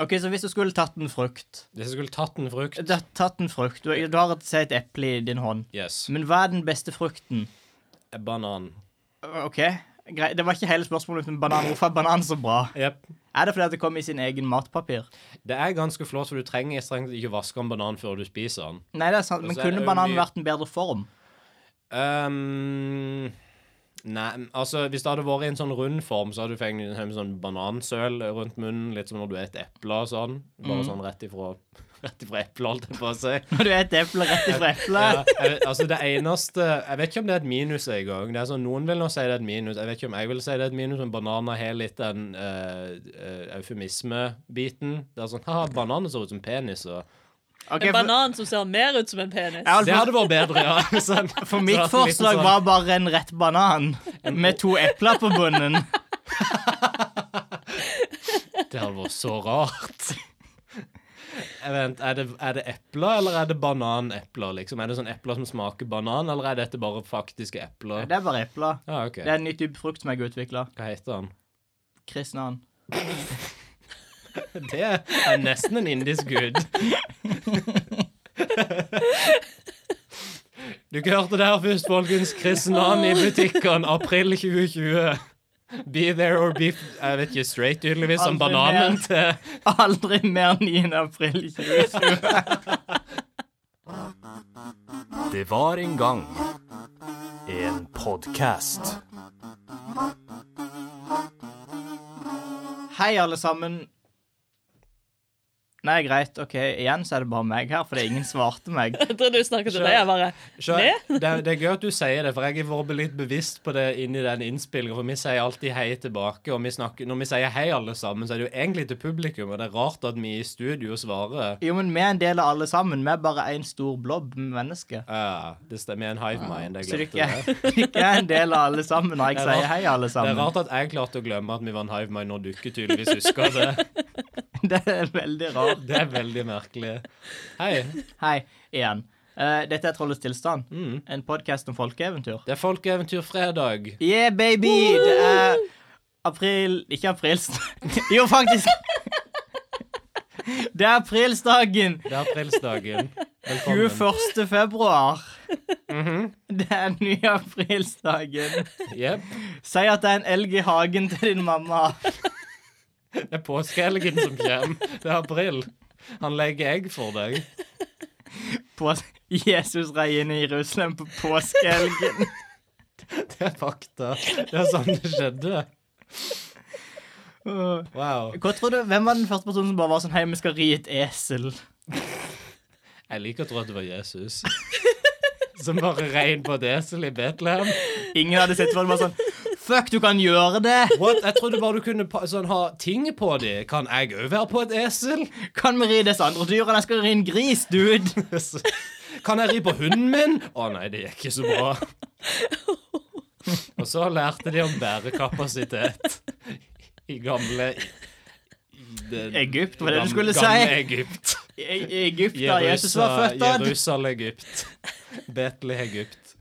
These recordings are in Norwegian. OK, så hvis du skulle tatt en frukt Hvis jeg skulle tatt en frukt Du har tatt en frukt. Du, du har et, si et eple i din hånd. Yes. Men hva er den beste frukten? Banan. OK, greit. Det var ikke hele spørsmålet om banan. Hvorfor er banan så bra? Jepp. Er det fordi at det kommer i sin egen matpapir? Det er ganske flott, for du trenger strengt tatt ikke vaske en banan før du spiser den. Nei, det er sant, men Og så er det kunne jo bananen mye- vært en bedre form? Ehm, nei, altså Hvis det hadde vært i en sånn rund form, så hadde du fått en haug med sånn banansøl rundt munnen. Litt som når du spiser epler og sånn. Bare sånn rett ifra, rett ifra eplet, holdt jeg på å si. Når du er et eple rett ifra eplet? Ja, jeg, vet- altså det eneste Jeg vet ikke om det er et minus en gang. Det er sånn, noen vil nå si det er et minus. Jeg vet ikke om jeg vil si det er et minus, men bananer har litt den eh, eh, eufemismebiten. Det er sånn Haha, bananer ser ut som penis, og Ok, En for- banan som ser mer ut som en penis. Ja, Det hadde vært bedre, ja. hvis han- For det mitt hadde vært litt forslag sånn- var bare en rett banan med to epler på bunnen. Det hadde vært så rart. Jeg vet, er, det, er det epler, eller er det bananepler? liksom? Er det sånn epler som smaker banan, eller er dette bare faktiske epler? Det er bare epler. Ja, ok. Det er en ny type frukt som jeg har utvikla. Hva heter han? Kristnan. Det er nesten en indisk gud. Du ikke hørte det her først, folkens. Kristnan i butikkene, april 2020. Be there or be Jeg vet ikke, straight, tydeligvis, som Aldri bananen til Aldri mer 9. april 2020. Det var en gang en podkast. Hei, alle sammen. Nei, greit. OK, igjen så er det bare meg her, fordi ingen svarte meg. Jeg tror du snakket til meg. Jeg bare Sjø, det, det er gøy at du sier det, for jeg har vært litt bevisst på det inni den innspillingen. For vi sier alltid hei tilbake, og vi snakker, når vi sier hei alle sammen, så er det jo egentlig til publikum, og det er rart at vi i studio svarer. Jo, men vi er en del av alle sammen. Vi er bare en stor blobb med mennesker. Ja, Ah, det stemmer. Jeg er en hive mind. Jeg Så du glemte det. ikke, du ikke er en del av alle sammen når jeg Det er sier rart. hei, alle Det er sammen. rart at jeg klarte å glemme at vi var en hive mind, når du ikke tydeligvis husker det. Det er veldig rart. Det er veldig merkelig. Hei. Hei, igjen. Eh, dette er Trollets tilstand. En podkast om folkeeventyr. mm. Det er Folkeeventyr fredag. Yeah, baby! Det er april Ikke aprilsdag Jo, faktisk. Det er aprilsdagen. Det er aprilsdagen. Velkommen. Mhm. 21. februar. Det er den nye aprilsdagen. Jep. Si at det er en elg i hagen til din mamma. Det er påskehelgen som kommer. Det er april. Han legger egg for deg. På Jesus rei inn i Jerusalem på påskeelgen. Det er fakta. Det er sånn det skjedde. Åh. Wow. Hva tror du, Hvem var den første personen som bare var sånn Hei, vi skal ri et esel? Jeg liker å tro at det var Jesus. Som bare rein på et esel i Betlehem. Ingen hadde sett for det. bare sånn Fuck, du kan gjøre det! What? Jeg trodde bare du kunne pa- sånn, ha ting på dem. Kan jeg òg være på et esel? Kan vi ri disse andre dyrene? Jeg skal ri en gris, dude! Kan jeg ri på hunden min? Å nei, det gikk ikke så bra. Og så lærte de om bærekapasitet i gamle i det- Egypt, var det du gam- skulle Gamle si? Egypt. I- I Egypt, da Jesus var Jerusa, født av. Jerusal, Egypt. Betle, Egypt.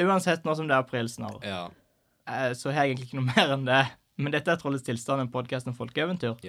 Uansett, nå som det er april snart, Ja. eh, så har jeg egentlig ikke noe mer enn det. Men dette er Trollets tilstand, en podkast om folkeeventyr.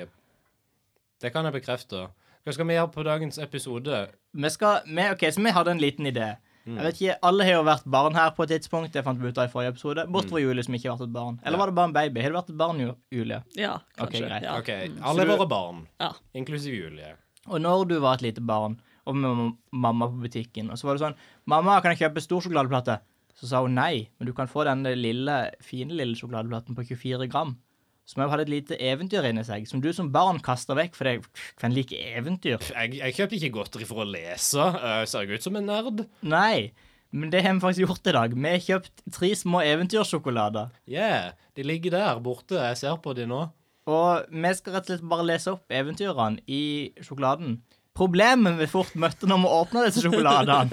Det kan jeg bekrefte. Hva skal vi gjøre på dagens episode? Vi skal, vi, ok, så vi hadde en liten idé. Jeg vet ikke, Alle har jo vært barn her på et tidspunkt. Det fant vi ut av i forrige episode. Bortsett fra Julie, som ikke har vært et barn. Eller var det bare en baby? Har du vært et barn, Ju- Julie? Ja, Ok, kanskje. greit. ja. Mm. OK, alle Så du- våre barn, Ja. inklusiv Julie. Og når du var et lite barn, og med mam- mamma på butikken, og så var det sånn 'Mamma, kan jeg kjøpe stor sjokoladeplate?' Så sa hun nei, men du kan få denne lille, fine lille sjokoladeplaten på 24 gram. Som òg hadde et lite eventyr inni seg, som du som barn kasta vekk fordi Hvem liker eventyr? Jeg, jeg kjøper ikke godteri for å lese. Eh, ser jeg ut som en nerd? Nei. Men det har vi faktisk gjort i dag. Vi har kjøpt tre små eventyrsjokolader. Yeah, de ligger der borte. Jeg ser på de nå. Og vi skal rett og slett bare lese opp eventyrene i sjokoladen. Problemet vi fort møtte når vi åpna disse sjokoladene,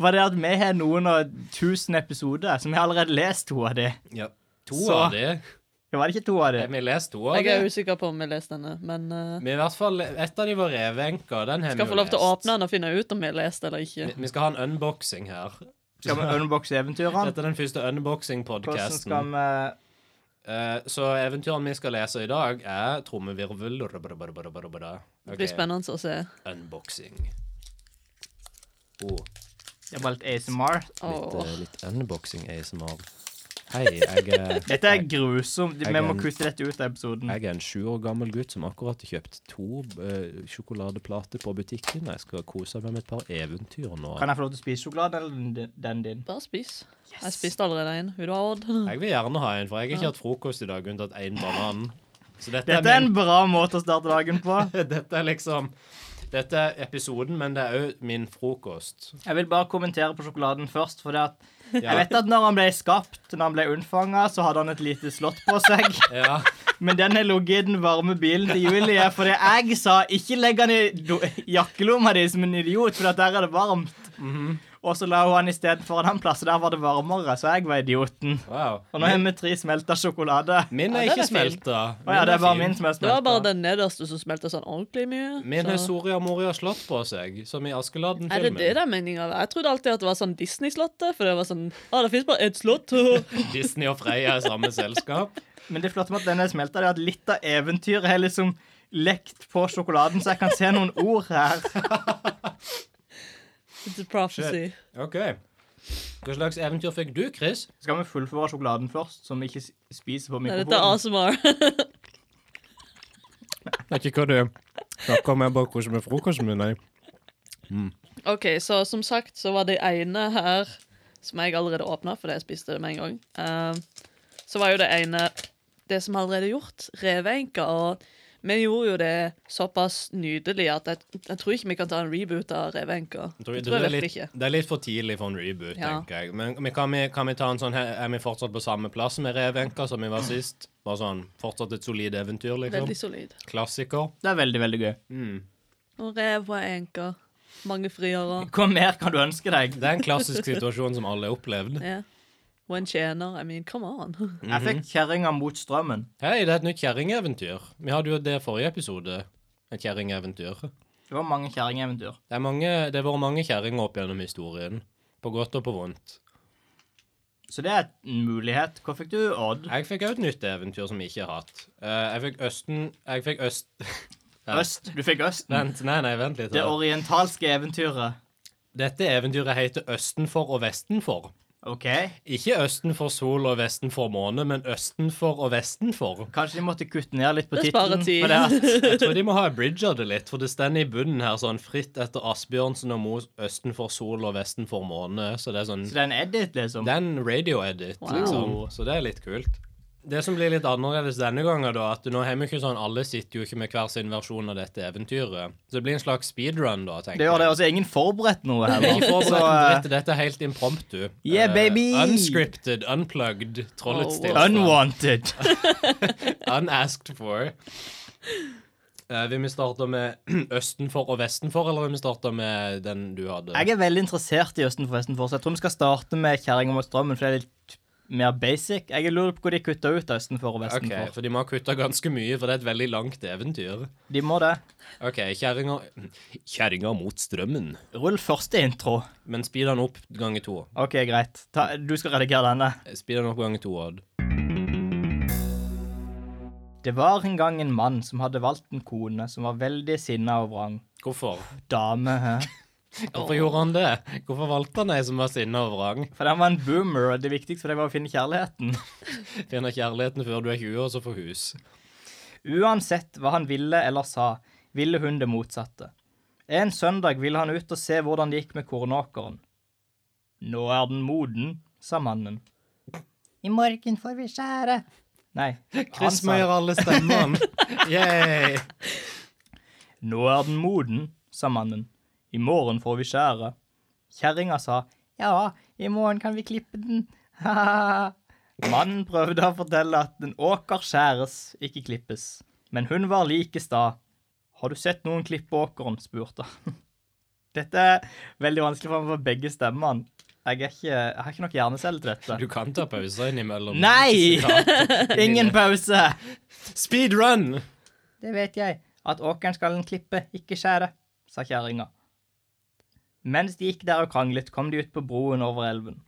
var det at vi har noen av tusen episoder, så vi har allerede lest to av de. Ja. To Så- av de. Ja, Var det ikke to av de? Har vi lest to av Jeg er de? usikker på om jeg leste denne, men eh, Men i hvert fall, Et av de var Revenka. Den har vi skal jo få lov til å lest. åpne den og finne ut om jeg leste eller Vi, ikke. vi skal ha en unboxing her. Skal vi unboxe eventyrene? Dette er den første Hvordan skal unboxing-podkasten. vi Eh, så eventyrene vi skal lese i dag, er trommevirvel Det okay. blir spennende å se. Unboxing. Oh, Det er bare litt ASMR. litt, Åh. eh, litt unboxing ASMR. Hei, jeg er Dette er grusomt. Jeg Vi må er en- kutte dette ut av episoden. Jeg er en sju år gammel gutt som akkurat har kjøpt to eh, sjokoladeplater på butikken. Jeg skal kose meg med et par eventyr nå. Kan jeg få lov til å spise sjokolade, eller den din- den din? Bare spis. Jeg spiste allerede en. Vil du ha Odd? Jeg vil gjerne ha en, for jeg har ikke hatt frokost i dag unntatt én banan. Så dette, Dette er min, en bra måte å starte dagen på. dette er liksom Dette er episoden, men det er òg min frokost. Jeg vil bare kommentere på sjokoladen først. For det at Ja. jeg vet at når han ble skapt, når han ble unnfanga, så hadde han et lite slott på seg. Ja. Men den har ligget i den varme bilen til Julie, fordi jeg sa 'ikke legg han i do- jakkelomma di som en idiot, for at der er det varmt'. Og så la hun han isteden foran en plass, og der var det varmere, så jeg var idioten. Wow. Og nå har vi tre smelta sjokolade. Min Ja, er ikke den er fin. smelta. Å ja, det er bare fin. min som er Det var bare smelta. den nederste som smelta sånn ordentlig mye. Min har så- Soria Moria slått på seg, som i Er det Askeladden-filmen. det det er meninga? Jeg trodde alltid at det var sånn Disney-slottet. For det var sånn ah, det fins bare ett slott. Å, Disney og Freia er samme selskap. Men det flotte med at den er smelta, er at litt av eventyret har liksom lekt på sjokoladen, så jeg kan se noen ord her. It's a prophecy. OK. Hva slags eventyr fikk du, Chris? Skal vi fullføre sjokoladen først, som vi ikke s- spiser på Nei, dette er mikrofonen? ASMR. Det er ikke hva du snakker om, jeg bare koser med frokosten min. Nei. OK, så som sagt så var det ene her som jeg allerede åpna, fordi jeg spiste det med en gang. Eh, så var jo det ene det som allerede er gjort. Revenka. Og vi gjorde jo det såpass nydelig at jeg, jeg tror ikke vi kan ta en reboot av Revenka. Det tror jeg det, er virkelig litt, ikke. det er litt for tidlig for en reboot, Ja. tenker jeg. Men, men kan, vi, kan vi ta en sånn her- Er vi fortsatt på samme plass med Revenka som vi var sist? Bare sånn Fortsatt et solid eventyr, liksom? Veldig solid. Klassiker. Det er veldig, veldig gøy. Og rev var enka. Mange friere. Hva mer kan du ønske deg? Det er en klassisk situasjon som alle har opplevd. Ja. Og en tjener. I mean, come on. Jeg fikk kjerringa mot strømmen. Hei, det er et nytt kjerringeventyr. Vi hadde jo det forrige episode. Et kjerringeventyr. Det var mange kjerringeventyr. Det er mange, det har vært mange kjerringer opp gjennom historien. På godt og på vondt. Så det er en mulighet. Hva fikk du, Odd? Jeg fikk òg et nytt eventyr som jeg ikke har hatt. Eh, jeg fikk Østen Jeg fikk Øst... Ja. Øst. Du fikk Østen. Vent, nei, nei, vent litt. Det her. orientalske eventyret. Dette eventyret heter Østenfor og Vestenfor. OK. Ikke Østenfor sol og Vestenfor måne, men Østenfor og Vestenfor. Kanskje de måtte kutte ned litt på Det tittelen. sparer tid. for det at- Jeg tror de må ha abridga det litt, for det stender i bunnen her sånn fritt etter Asbjørnsen og Moe Østenfor sol og Vestenfor måne, så det er sånn Så det er en edit, liksom. Det er en radio-edit, Wow. liksom. Så det er litt kult. Det som blir litt annerledes denne gangen, da, at nå har vi ikke sånn Alle sitter jo ikke med hver sin versjon av dette eventyret. Så det blir en slags speedrun, da, tenker Det gjør det. jeg. Og så er ingen forberedt noe heller. Ikke forberedt Så, en eh, dritt, dette er helt impromptu. Yeah, Eh, baby! unscripted, unplugged, Oh, trollets wow. tilstand. Unwanted. Unasked for. Eh, vil vi starte med Østenfor og Vestenfor, eller vil vi starte med den du hadde? Jeg er veldig interessert i Østen for Vesten for, så jeg tror vi skal starte med Kjerringa mot strømmen, for det er litt mer basic. Jeg lurer på hvor de kutta ut Østen for og Vesten OK, for. for de må ha kutta ganske mye, for det er et veldig langt eventyr. De må det. OK, kjerringa Kjerringa mot strømmen. Rull første intro. Men speed den opp ganger to. OK, greit. Ta, du skal redigere denne. Speed den opp ganger to, Odd. Det var en gang en mann som hadde valgt en kone som var veldig sinna og vrang. Hvorfor? Dame, hæ? Hvorfor gjorde han det? Hvorfor valgte han ei som var sinna og vrang? For den var en boomer, og det viktigste for deg var å finne kjærligheten. Finner kjærligheten før du er 20 og så får hus. Uansett hva han ville eller sa, ville hun det motsatte. En søndag ville han ut og se hvordan det gikk med kornåkeren. Nå er den moden, sa mannen. I morgen får vi skjære. Nei, han Chris sa må det. gjøre alle stemmene. Yay. Nå er den moden, sa mannen. I morgen får vi skjære. Kjerringa sa ja, i morgen kan vi klippe den. Mannen prøvde å fortelle at en åker skjæres, ikke klippes. Men hun var like sta. Har du sett noen klippe åkeren? spurte han. Dette er veldig vanskelig for meg for begge stemmene. Jeg, er ikke, jeg har ikke nok hjerneceller til dette. Du kan ta pauser innimellom. Nei! Ja. Ingen pause! Speed run! Det vet jeg, at åkeren skal en klippe, ikke skjære, sa kjerringa. Mens de gikk der og kranglet, kom de ut på broen over elven.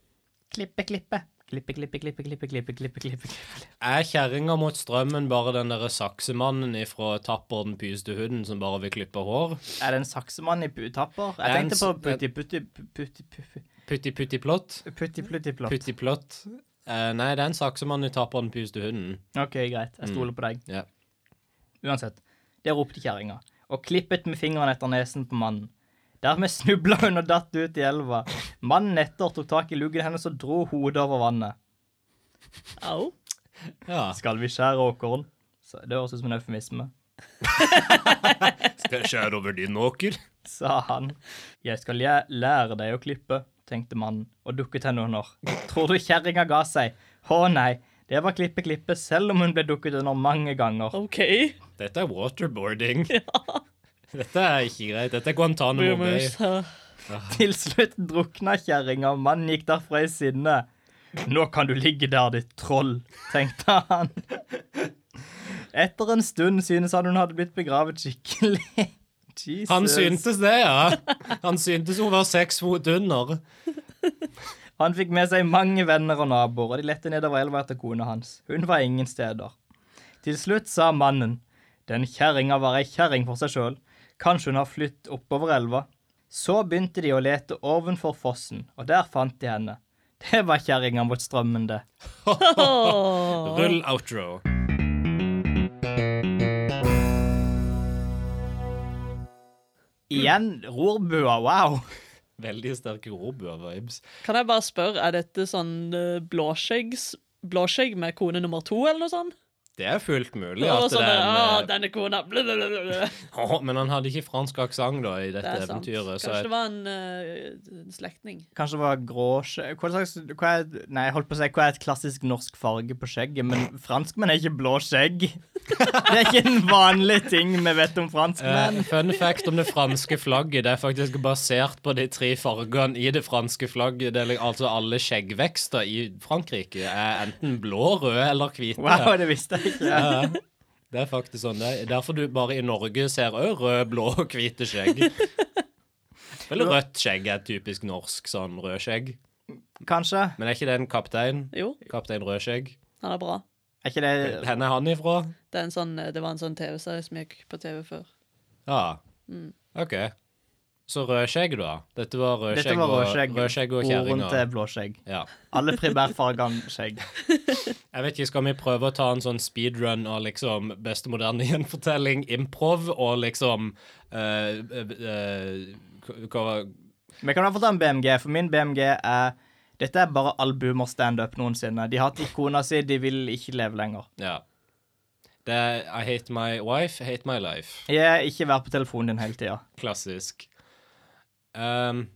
Klippe, klippe, Klippe, klippe, klippe, klippe, klippe, klippe, klippe, klippe. Er kjerringa mot strømmen bare den derre saksemannen ifra Tapper den pyeste hunden som bare vil klippe hår? Er det en saksemann i pu- tapper? Jeg Det er en tenkte på s- putti, putti, putti, putti, Putti putti plott? putti, putti, plott. Putti plott? Eh, nei, det er en saksemann i Tapper den pyeste hunden. OK, greit. Jeg stoler på deg. Mm. Ja. Uansett. Der ropte kjerringa og klippet med fingeren etter nesen på mannen. Dermed snubla hun og datt ut i elva. Mannen etter tok tak i luggen hennes og dro hodet over vannet. Au. ja. Skal vi skjære åkeren? Så det høres ut som en eufemisme, Skal jeg skjære over din åker? sa han. Jeg skal læ- lære deg å klippe, tenkte mannen og dukket henne under. Tror du kjerringa ga seg? Å nei, det var klippe klippe, selv om hun ble dukket under mange ganger. OK. Dette er waterboarding. Dette er ikke greit. Dette er Guantánamo Bay. Boomers. ha. Til slutt drukna kjerringa, og mannen gikk derfra i sinne. Nå kan du ligge der, ditt troll, tenkte han. Etter en stund synes han hun hadde blitt begravet skikkelig. Jesus. Han syntes det, ja. Han syntes hun var seks fot under. Han fikk med seg mange venner og naboer, og de lette nedover elva etter kona hans. Hun var ingen steder. Til slutt sa mannen, den kjerringa var ei kjerring for seg sjøl, kanskje hun har flytt oppover elva. Så begynte de å lete ovenfor fossen, og der fant de henne. Det var kjerringa mot strømmen, det. Rull outro. Igjen rorbua, wow! Veldig sterke Robua-vibes. Kan jeg bare spørre, er dette sånn eh, blåskjeggs Blåskjegg med kone nummer to, eller noe sånt? Det er fullt mulig og at eh, sånn det der, ah, er en denne kona blablabla. Åh, Men han hadde ikke fransk aksent da i Det dette er sant. eventyret. Så Kanskje det var en, eh, en slektning. Kanskje det var gråskje... Hva slags hva er, Nei, jeg holdt på å si hva er et klassisk norsk farge på skjegget, men franskmenn er ikke blå skjegg. Det er ikke en vanlig ting vi vet om franskmenn. Eh, fun fact om det franske flagget. Det er faktisk basert på de tre fargene i det franske flagget. Det er, li- altså alle skjeggvekster i Frankrike er enten blå, røde eller hvite. Wow, det visste jeg ikke. Ja, det er faktisk sånn. Det er derfor du bare i Norge ser òg rød, blå og hvite skjegg. Vel, rødt skjegg er typisk norsk sånn rødskjegg. Kanskje. Men er ikke det en kaptein? Jo, Kaptein Rødskjegg. han er bra. Er ikke det Hvor er han ifra? Det, er en sånn, eh, det var en sånn TV-serie som gikk på TV før. Ja. Mm. OK. Så Rødskjegg, da. Dette var Dette Rødskjegg var og, råskjegg. rødskjegg og Broren kjerringa. til blåskjegg. Ja. Alle primærfargene skjegg. Jeg vet ikke, Skal vi prøve å ta en sånn speedrun og liksom beste moderne gjenfortelling, improv og liksom eh, eh, eh, hva var Vi kan i hvert fall ta en BMG, for min BMG er Dette er bare all boomer standup noensinne. De har hatt ikona si, de vil ikke leve lenger. Ja. Det er I hate my wife, hate my life. Jeg ikke vær på telefonen din hele tida. Klassisk. Um,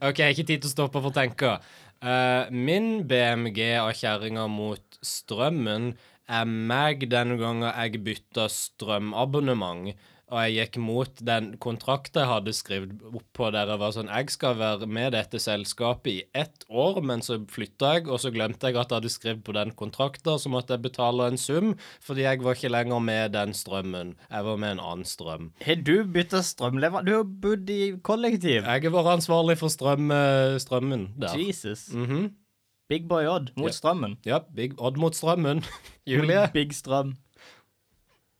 OK, jeg har ikke tid til å stoppe for å tenke. Eh, min BMG av kjerringa mot strømmen er meg den gangen jeg bytta strømabonnement. Og jeg gikk mot den kontrakten jeg hadde skrevet opp på der jeg var sånn Jeg skal være med dette selskapet i ett år, men så flytta jeg, og så glemte jeg at jeg hadde skrevet på den kontrakten, så måtte jeg betale en sum, fordi jeg var ikke lenger med den strømmen. Jeg var med en annen strøm. Har du bytta strømlever? Du har bodd i kollektiv. Jeg har vært ansvarlig for strøm, eh, strømmen der. Jesus. Mhm. Big Boy Odd mot Ja. strømmen. Ja, Big Odd mot strømmen. Julie? Big Strøm.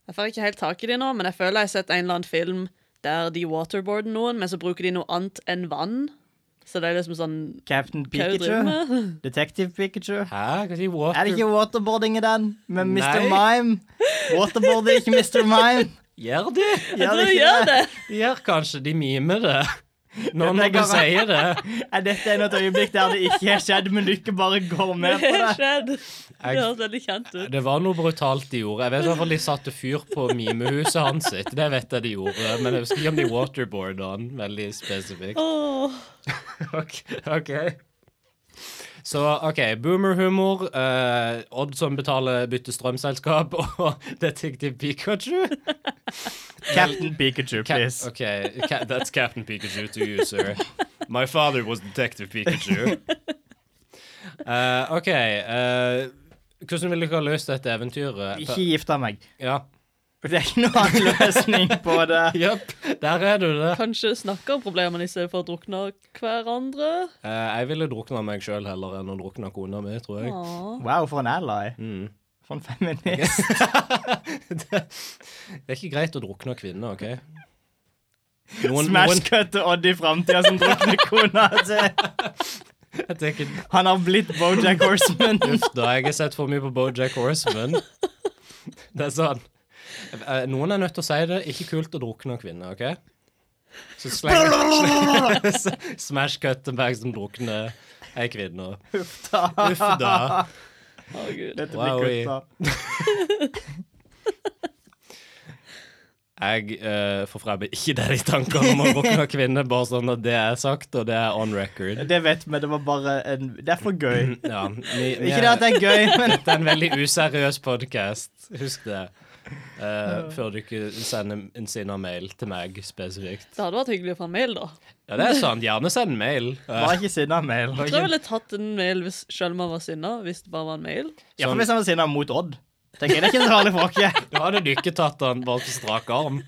Jeg får ikke helt tak i de nå, men jeg føler jeg har sett en eller annen film der de waterboarder noen, men så bruker de noe annet enn vann. Så det er liksom sånn Captain Hva er det du driver Pikachu. med? Detektiv Pikachu. Hæ? Hva sier Er det ikke waterboarding i den? Med Mr. Nei. Mime? Waterboarder ikke Mr. Mime? Gjør de? Gjør Du det ikke det? gjør det! De gjør kanskje de mimer det. Nå Dette er når du gammel- sier det. Er dette ennå et øyeblikk der det ikke har skjedd, men du ikke bare går med på Det har det? skjedd. Det høres veldig kjent ut. Det var noe brutalt de gjorde. Jeg vet i hvert fall de satte fyr på mimehuset hans sitt. Det vet jeg de gjorde. Men jeg husker ikke om de waterboarda han veldig spesifikt. Åh. Ok. ok. Så OK, boomerhumor, eh, Odd som betaler byttestrømselskap, og detektiv Pikachu. Captain Pikachu, Cap- please. Okay, ca- that's Captain Pikachu to you, sir. My father was Detective Pikachu. Eh, OK. uh, eh, hvordan vil dere ha løst dette eventyret? Ikke gifta meg. Ja. For det er ikke noen annen løsning på det. Jepp, der er du det. Kanskje snakke om problemene i stedet for å drukne hverandre. Eh, jeg ville drukna meg sjøl heller enn å drukne kona mi, tror jeg. Åh. Wow, for en ally. Mm. For en feminist. det, det er ikke greit å drukne kvinner, OK? Noen, noen, Smashcut til Odd i framtida som drukner kona si. jeg tenker, Han har blitt Bojack Horseman. uff da, jeg har sett for mye på Bojack Horseman. Det er sånn. Eh, Noen er nødt til å si det. Ikke kult å drukne kvinner, OK? Så slenger Smash cut til meg som drukner ei kvinne. Uff eh. da. Å, Gud. Dette Wow, blir kutta. Jeg uh, forfremmer ikke det i tankene om å drukne kvinner, bare sånn at det er sagt, og det er on record. Det vet vi, det var bare en Det er for gøy. Ja, vi, vi Ikke det at det er gøy, men Dette er en veldig useriøs podkast. Husk det. Eh, før du ikke sender en sinna mail til meg spesifikt. Det hadde vært hyggelig å få en mail, da. Ja, det er sant. Gjerne send mail. Eh, Bare ikke sinna mail. Jeg tror jeg ville tatt en mail hvis selv om jeg var sinna, hvis det bare var en mail. Ja, for hvis han var sinna mot Odd, tenker jeg det er ikke så farlig for oss. da hadde du ikke tatt den bare på strak arm.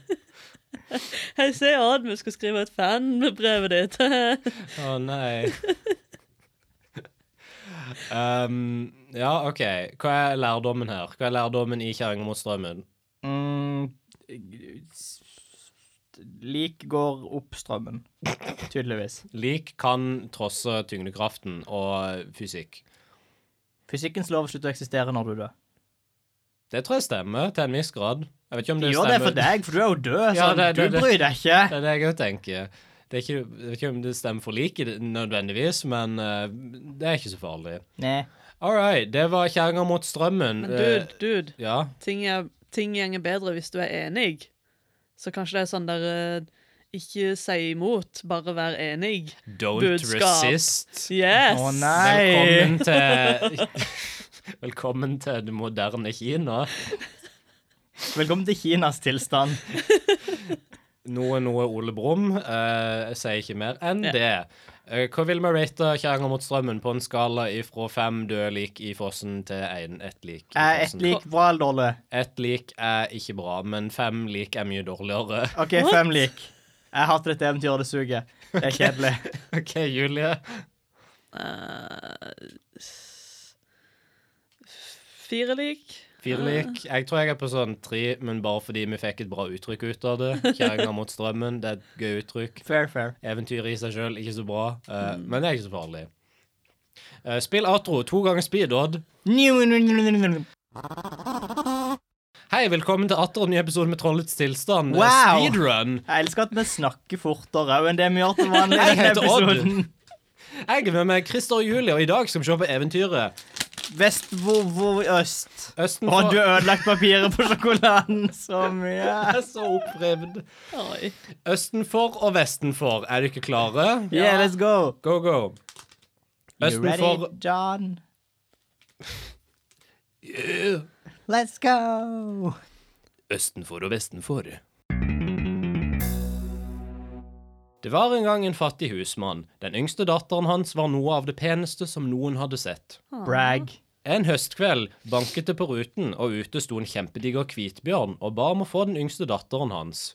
Hei, se Odd, vi skal skrive et fanbrev ditt. Å nei. Um, ja, OK. Hva er lærdommen her? Hva er lærdommen i Kjerringa mot strømmen? Mm, lik går opp strømmen. Tydeligvis. Lik kan trosse tyngdekraften og fysikk. Fysikkens lov slutter å eksistere når du dør. Det tror jeg stemmer til en viss grad. Jeg vet ikke om det Gjør det stemmer. for deg, for du er jo død, så Ja, det- det- du bryr deg ikke. Det er det jeg òg tenker. Det er ikke, jeg vet ikke om det stemmer for liket nødvendigvis, men eh, det er ikke så farlig. Nei. All right, det var kjerringa mot strømmen. Men Eh, dude, dude, ja. ting, er, ting gjenger bedre hvis du er enig. Så kanskje det er sånn der eh, Ikke si imot, bare vær enig. Don't Budskap. resist. Yes! Å, nei. Velkommen til Velkommen til det moderne Kina. Velkommen til Kinas tilstand. Noe, noe Ole Brumm. eh, jeg sier ikke mer enn Ja. det. Eh, hva vil vi rate Kjerringa mot strømmen på en skala ifra fem døde lik i fossen til en, ett lik? i Er ett fossen? lik bra eller dårlig? Ett lik er ikke bra, men fem lik er mye dårligere. OK, fem lik. Jeg hater dette eventyret, det suger. Det er kjedelig. OK, Julie. Eh, fire lik. Fire lik. Jeg tror jeg er på sånn tre, men bare fordi vi fikk et bra uttrykk ut av det. Kjerringa mot strømmen, det er et gøy uttrykk. Fair, fair. Eventyret i seg sjøl, ikke så bra, eh, Mm. men det er ikke så farlig. Eh, spill Atro to ganger speed, Odd. Wow! Hei, velkommen til atter en ny episode med Trollets tilstand. Eh, Wow! Speedrun. Jeg elsker at vi snakker fortere enn det vi gjør til vanlig. i Jeg denne heter Odd. episoden. Jeg er med meg Christer og Julie, og i dag skal vi se på eventyret. Vest, hvor, hvor øst? Østen Å, du har ødelagt papiret på sjokoladen så mye. er så opprivd. Oi. Østenfor og vestenfor. Er dere klare? Yeah, let's go. Go, go. You ready, Østenfor John? Let's go. Østenfor og vestenfor. Det var en gang en fattig husmann. Den yngste datteren hans var noe av det peneste som noen hadde sett. Brag. En høstkveld banket det på ruten, og ute sto en kjempediger hvitbjørn og ba om å få den yngste datteren hans.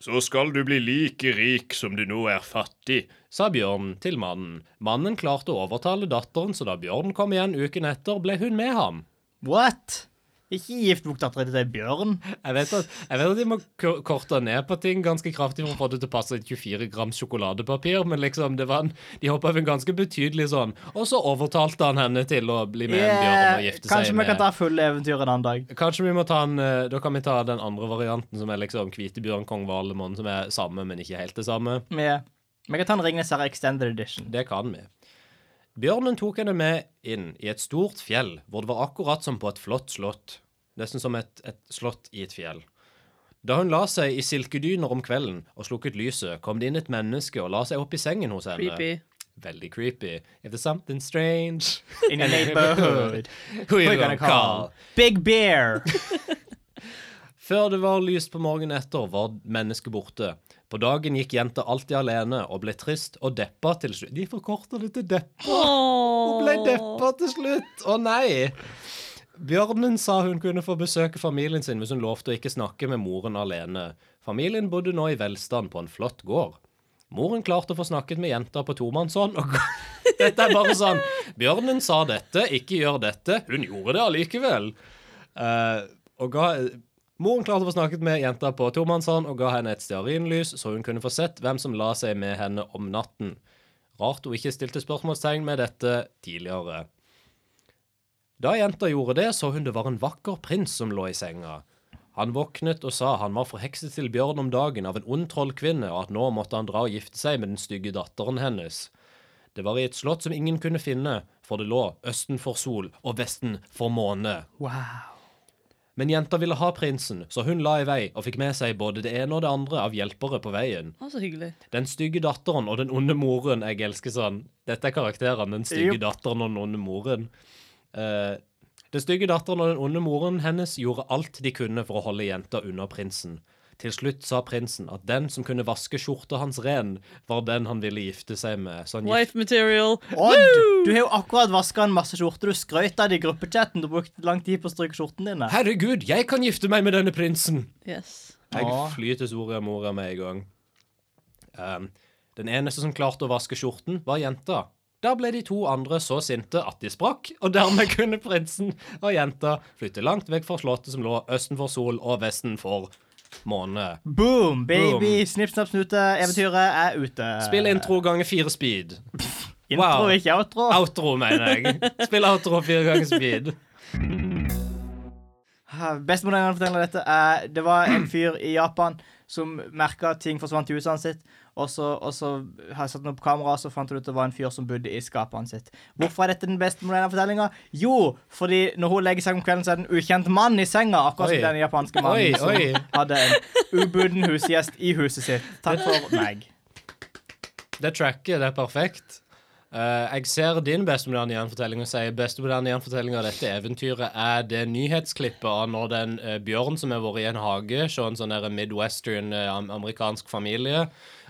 så skal du bli like rik som du nå er fattig. Sa bjørnen til mannen. Mannen klarte å overtale datteren, så da bjørnen kom igjen uken etter, ble hun med ham. What? Ikke gift bort datteren til en bjørn. Jeg vet, at, jeg vet at de må ko- korte ned på ting ganske kraftig for å få det til å passe et 24 gram sjokoladepapir, men liksom, det var en, de hoppa over en ganske betydelig sånn. Og så overtalte han henne til å bli med en bjørn Yeah, og gifte Kanskje seg vi med kan ta fulle eventyr en annen dag. Kanskje vi må ta en, eh, Da kan vi ta den andre varianten, som er liksom hvitebjørn, kong Valemon, som er samme, men ikke helt det samme. Vi, vi kan ta en Ringnes Herre Extended Edition. Det kan vi. Bjørnen tok henne med inn i et stort fjell, hvor det var akkurat som på et flott slott. Nesten som et, et slott i et fjell. Da hun la seg i silkedyner om kvelden og slukket lyset, kom det inn et menneske og la seg opp i sengen hos henne. Creepy. Veldig creepy. If there's something strange In your neighborhood. Who We're you gonna gonna call? call Big Bear. Før det var lyst på morgenen etter, var mennesket borte. På dagen gikk jenta alltid alene og ble trist og deppa til slutt. De forkorter det til depp. Åh. Hun ble deppa til slutt. Å nei! Bjørnen sa hun kunne få besøke familien sin hvis hun lovte å ikke snakke med moren alene. Familien bodde nå i velstand på en flott gård. Moren klarte å få snakket med jenta på tomannshånd. Og dette er bare sånn Bjørnen sa dette, ikke gjør dette. Hun gjorde det allikevel. Eh, og ga, moren klarte å få snakket med jenta på tomannshånd og ga henne et stearinlys, så hun kunne få sett hvem som la seg med henne om natten. Rart hun ikke stilte spørsmålstegn med dette tidligere. Da jenta gjorde det, så hun det var en vakker prins som lå i senga. Han våknet og sa han var forhekset til bjørn om dagen av en ond trollkvinne, og at nå måtte han dra og gifte seg med den stygge datteren hennes. Det var i et slott som ingen kunne finne, for det lå østen for sol og vesten for måne. Wow. Men jenta ville ha prinsen, så hun la i vei og fikk med seg både det ene og det andre av hjelpere på veien. Å, så hyggelig. Den stygge datteren og den onde moren. Jeg elsker sånn. Dette er karakterene. Den stygge Jupp. datteren og den onde moren. Eh, den stygge datteren og den onde moren hennes gjorde alt de kunne for å holde jenta unna prinsen. Til slutt sa prinsen at den som kunne vaske skjorta hans ren, var den han ville gifte seg med. Så han gif- Wife material. Odd, du har jo akkurat vaska en masse skjorter. Du skrøt av det i gruppechatten. Du brukte lang tid på å stryke skjortene dine. Herregud, jeg kan gifte meg med denne prinsen! Yes. Jeg Ja. flyr til Soria Moria med en gang. Ehm, den eneste som klarte å vaske skjorten, var jenta. Da ble de to andre så sinte at de sprakk, og dermed kunne prinsen og jenta flytte langt vekk fra slottet som lå østen for sol og vesten for måne. Boom, baby. Snipp, snapp, snute. Eventyret er ute. Spill intro ganger fire speed. Intro, wow. ikke outro. Outro, mener jeg. Spill outro fire ganger speed. Best moderne forteller dette er Det var en fyr i Japan som merka at ting forsvant i huset sitt. Og så, og så har jeg satt den opp på kamera, og så fant hun ut det var en fyr som bodde i skapet hans sitt. Hvorfor er dette den beste moderne fortellinga? Jo, fordi når hun legger seg om kvelden, så er det en ukjent mann i senga. Akkurat Oi. som den japanske Oi, mannen oi. som hadde en ubuden husgjest i huset sitt. Takk for meg. Det tracket, det er perfekt. Eh, jeg ser din beste moderne gjenfortelling og sier beste moderne gjenfortelling av dette eventyret er det nyhetsklippet av når den eh, bjørn som har vært i en hage, så en sånn der midwestern eh, am- amerikansk familie,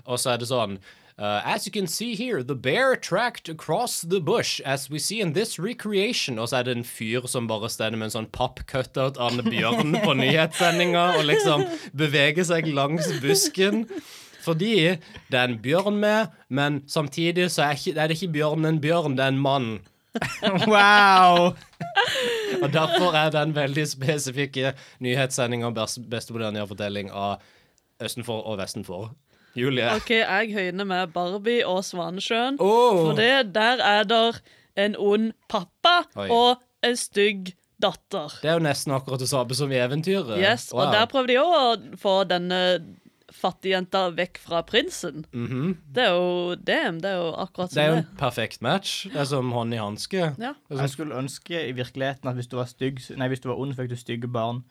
og så er det sånn Uh, as you can see here, the bear tracked across the bush as we see in this recreation. Og så er det en fyr som bare stender med en sånn papp-cutout av en bjørn på nyhetssendinga og liksom beveger seg langs busken. Fordi det er en bjørn med, men samtidig så er, ikke, er det ikke bjørnen en bjørn, det er en mann. Wow. Og derfor er den veldig spesifikke nyhetssendinga best, beste moderne fortelling av Østenfor og Vestenfor. Julie. OK, jeg høyner med Barbie og Svanesjøen. Åh. For det, der er der en ond pappa Oi. og en stygg datter. Det er jo nesten akkurat det samme som i eventyret. Yes, Wow. Og der prøvde de òg å få denne fattigjenta vekk fra prinsen. Det er jo damn, det er jo akkurat Mhm. Det som er jo det. en perfekt match. Det er som hånd i hanske. Ja. Jeg skulle ønske i virkeligheten at hvis du var stygg Nei, hvis du var ond, så fikk du stygge barn.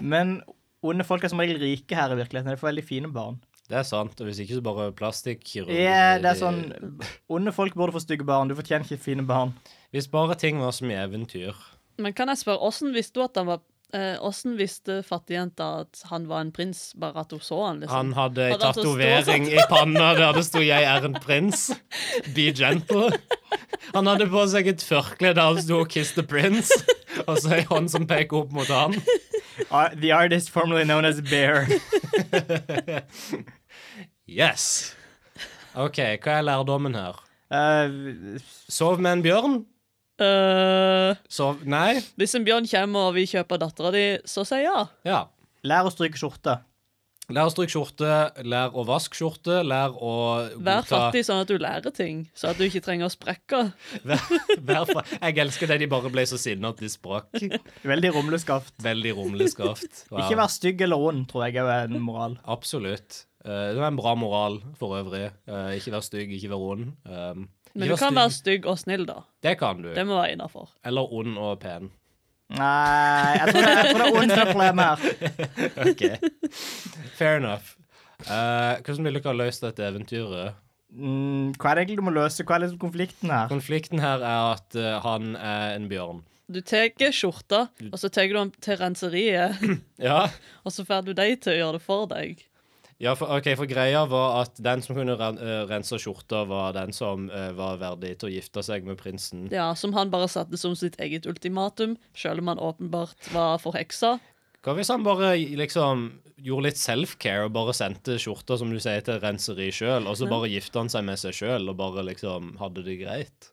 Men onde folk er som regel rike her i virkeligheten. De får veldig fine barn. Det er sant. Og hvis ikke, så bare plastikkirurgi. Ja, det er sånn Onde folk burde få stygge barn. Du fortjener ikke fine barn. Hvis bare ting var som i eventyr. Men kan jeg spørre, åssen visste du at han var eh, Åssen visste fattigjenta at han var en prins, bare at hun så han, liksom? Han hadde ei Hadde altså tatovering i panna der det sto 'Jeg er en prins'. Be gentle. Han hadde på seg et førkle der det sto 'Kiss the Prince', og så ei hånd som peker opp mot han. Ar- Ah, The artist formerly known as Bear. Yes. OK, hva er lærdommen her? Eh, Sov med en bjørn? Eh, Sov Nei? hvis en bjørn kommer og vil kjøpe dattera di, så sier jeg ja. Ja. lær å stryke skjorte. Lær å stryke skjorte, lær å vaske skjorte, lær å Vær godta- fattig sånn at du lærer ting, så at du ikke trenger å sprekke. Hver, hver fra, jeg elsker det de bare ble så sinna at de sprakk. Veldig rumleskaft. Veldig rumleskaft. Wow. Ikke vær stygg eller ond, tror jeg er en moral. Absolutt. Eh, det var en bra moral for øvrig. Eh, ikke vær stygg, ikke vær ond. Um, ikke Men du kan stygg. være stygg og snill, da. Det kan du. Det må være innafor. Eller ond og pen. Nei, jeg tror det, jeg tror det er ond som er problemet her. OK. Fair enough. Eh, hvordan vil dere ha løst dette eventyret? Mm, hva er det egentlig du må løse? Hva er liksom konflikten her? Konflikten her er at eh, han er en bjørn. Du tar skjorta, og så tar du den til renseriet, Ja, og så får du de til å gjøre det for deg. Ja, for, ok, for greia var at den som kunne ren, eh, rense skjorta, var den som eh, var verdig til å gifte seg med prinsen. Ja, Som han bare satte som sitt eget ultimatum, selv om han åpenbart var forheksa. Hva hvis han bare liksom gjorde litt self-care og bare sendte skjorta som du sier til renseri sjøl, og så bare gifta han seg med seg sjøl og bare liksom hadde det greit?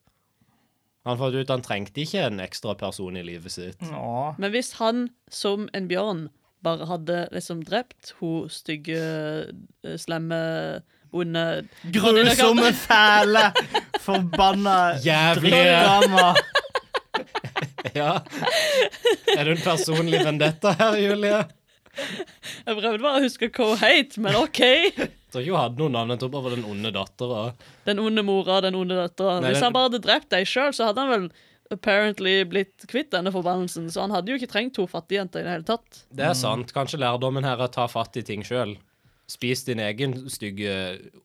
Han fant ut at han trengte ikke en ekstra person i livet sitt. Nå. Men hvis han, som en bjørn, bare hadde liksom drept hun stygge, eh, slemme, onde Grusomme, fæle, forbanna Jævlig! drama. Ja. Er du en personlig vendetta her, Julie? Jeg prøvde bare å huske hva hun het, men OK. Jeg tror ikke hun hadde noe navn. Jeg tror bare det var den onde dattera. Den onde mora, den onde dattera. Nei, Hvis den- han bare hadde drept deg sjøl, så hadde han vel apparently blitt kvitt denne forbannelsen, så han hadde jo ikke trengt to fattigjenter i det hele tatt. Det er sant. Kanskje lærdommen her er å ta fatt i ting sjøl. Spis din egen stygge,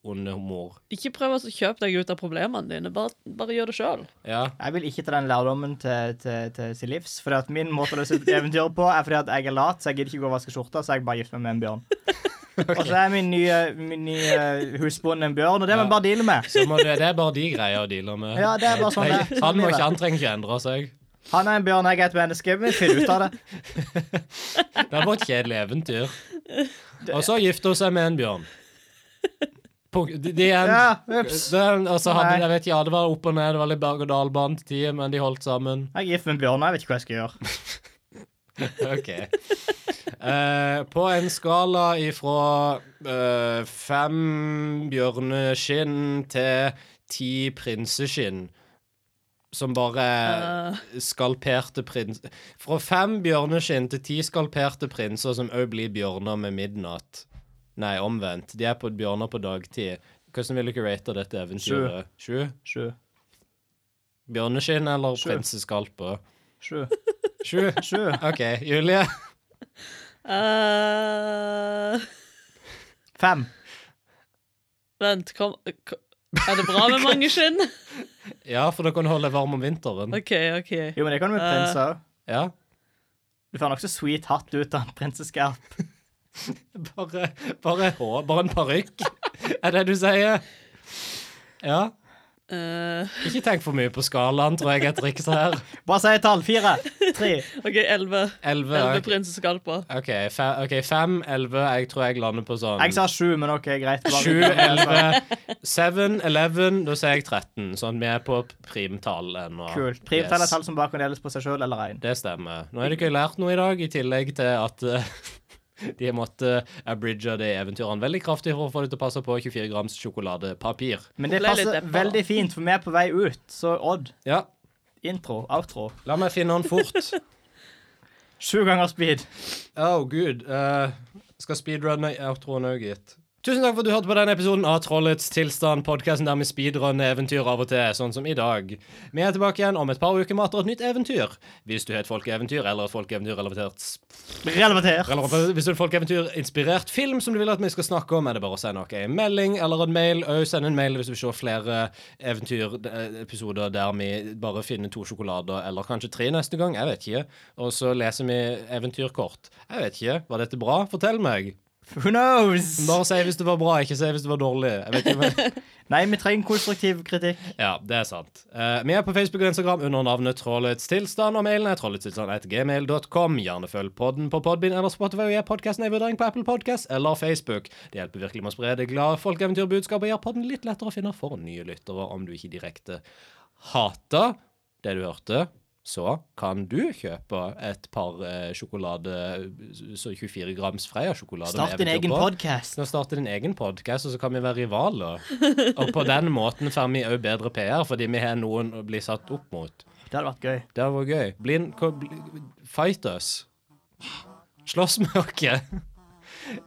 onde mor. Ikke prøv å kjøpe deg ut av problemene dine, bare, bare gjør det sjøl. Ja. Jeg vil ikke ta den lærdommen til, til, til til livs. For at min måte å løse et eventyr på er fordi at jeg er lat, så jeg gidder ikke gå og vaske skjorta, så jeg bare gifter meg med en bjørn. Og så er min nye, min nye eh, husbond en bjørn, og det må Ja. jeg bare deale med. Så må det, det er bare de greier å deale med. Ja, det er bare sånn det er. Nei, Sånn han, må livet. ikke, han trenger ikke endre seg. Han er en bjørn, jeg er et menneske. Vi finner ut av det. Det er bare et kjedelig eventyr. Og så gifter hun seg med en bjørn. Punk- De, de er en, Ja, ups. det er en- altså, hadde, Nei. jeg vet ikke, ja, det var opp og ned, det var litt berg-og-dal-bane til tider, men de holdt sammen. Jeg er gift med en bjørn, og jeg vet ikke hva jeg skal gjøre. OK. Eh, på en skala ifra eh, fem bjørneskinn til ti prinseskinn som bare Eh, er skalperte prins... Fra fem bjørneskinn til ti skalperte prinser som òg blir bjørner med midnatt. Nei, omvendt. De er på bjørner på dagtid. Hvordan vil dere rate dette eventyret? Sju? Sju. Bjørneskinn eller Sju. prinseskalper? Sju. Sju? Sju. OK. Julie? eh, Fem. vent, kom, kom Er det bra med mange skinn? Ja, for da kan du holde deg varm om vinteren. OK, OK. Jo, men det kan du med Eh. prins òg. Ja. Du får nokså sweet hatt ut av en prinseskerp. Bare, bare hår, bare en parykk, er det du sier. Ja. Eh, Ikke tenk for mye på skalaen, tror jeg er trikset her. Bare si et tall. Fire. Tre. OK, elleve. Elleve. Elleve ok. prinseskalper. OK, fe, ok, fem, elleve. Jeg tror jeg lander på sånn Jeg sa sju, men OK, greit. Bare- sju, elleve, seven, eleven. Da sier jeg 13, sånn vi er på primtall ennå. Kult. Primtall er Yes. tall som bare kan deles på seg sjøl eller én. Det stemmer. Nå har dere lært noe i dag, i tillegg til at eh, de måtte abridge de eventyrene veldig kraftig for å få det til å passe på 24 grams sjokoladepapir. Men det Ble litt passer deppa, da. veldig fint, for vi er på vei ut. Så Odd, Ja, intro, outro. la meg finne den fort. Sju ganger speed. Oh, gud. eh, skal speedrunne outroen òg, gitt. Tusen takk for at du hørte på denne episoden av Trollets tilstand, podkasten der vi speedrunner eventyr av og til, sånn som i dag. Vi er tilbake igjen om et par uker med atter et nytt eventyr. Hvis du har et folkeeventyr eller et folkeeventyrrelatert sp- Relevatert. eller Hvis du har et folkeeventyrinspirert film som du vil at vi skal snakke om, er det bare å sende oss en melding eller en mail. Og send en mail hvis du vil se flere eventyrepisoder der vi bare finner to sjokolader, eller kanskje tre neste gang. Jeg vet ikke. Og så leser vi eventyrkort. Jeg vet ikke. Var dette bra? Fortell meg. Who knows? Bare si hvis det var bra, ikke si hvis det var dårlig. Jeg vet ikke om jeg... Nei, vi trenger konstruktiv kritikk. Ja, det er sant. Eh, vi er på Facebook og Instagram under navnet Trollets tilstand, og mailen er trolletstilstand.gmail.com. Gjerne følg podden på Podbind eller Spotify og gi podkasten en vurdering på Apple Podcast eller Facebook. Det hjelper virkelig med å spre det glade folkeeventyrbudskapet og gjør podden litt lettere å finne for nye lyttere, om du ikke direkte hater det du hørte. Så kan du kjøpe et par eh, sjokolade, så 24 grams Freia-sjokolade. med Start din eventyr egen på. podkast. Nå starter din egen podkast, og så kan vi være rivaler. Og på den måten får vi òg bedre PR, fordi vi har noen å bli satt opp mot. Det hadde vært gøy. Det hadde vært gøy. Blind, ko, bli, fight us. Slåss med dere.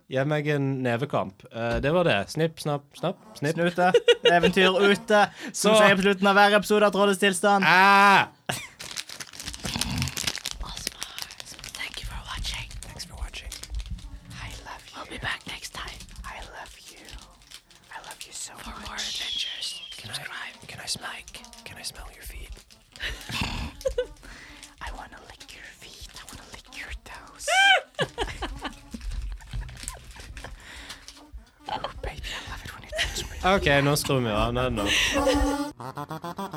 Gi meg en nevekamp. Eh, det var det. Snipp, snapp, snapp. Snipp. Snute. Eventyr ute. Som Så- sier på slutten av hver episode av Trollets tilstand. Ah! Thank you for watching. Thanks for watching. I love you. We'll be back next time. I love you. I love you so for much. For more adventures. Can I, can I smell? Can I smell your feet? I want to lick your feet. I want to lick your toes. OK, nå skrur vi av den nå.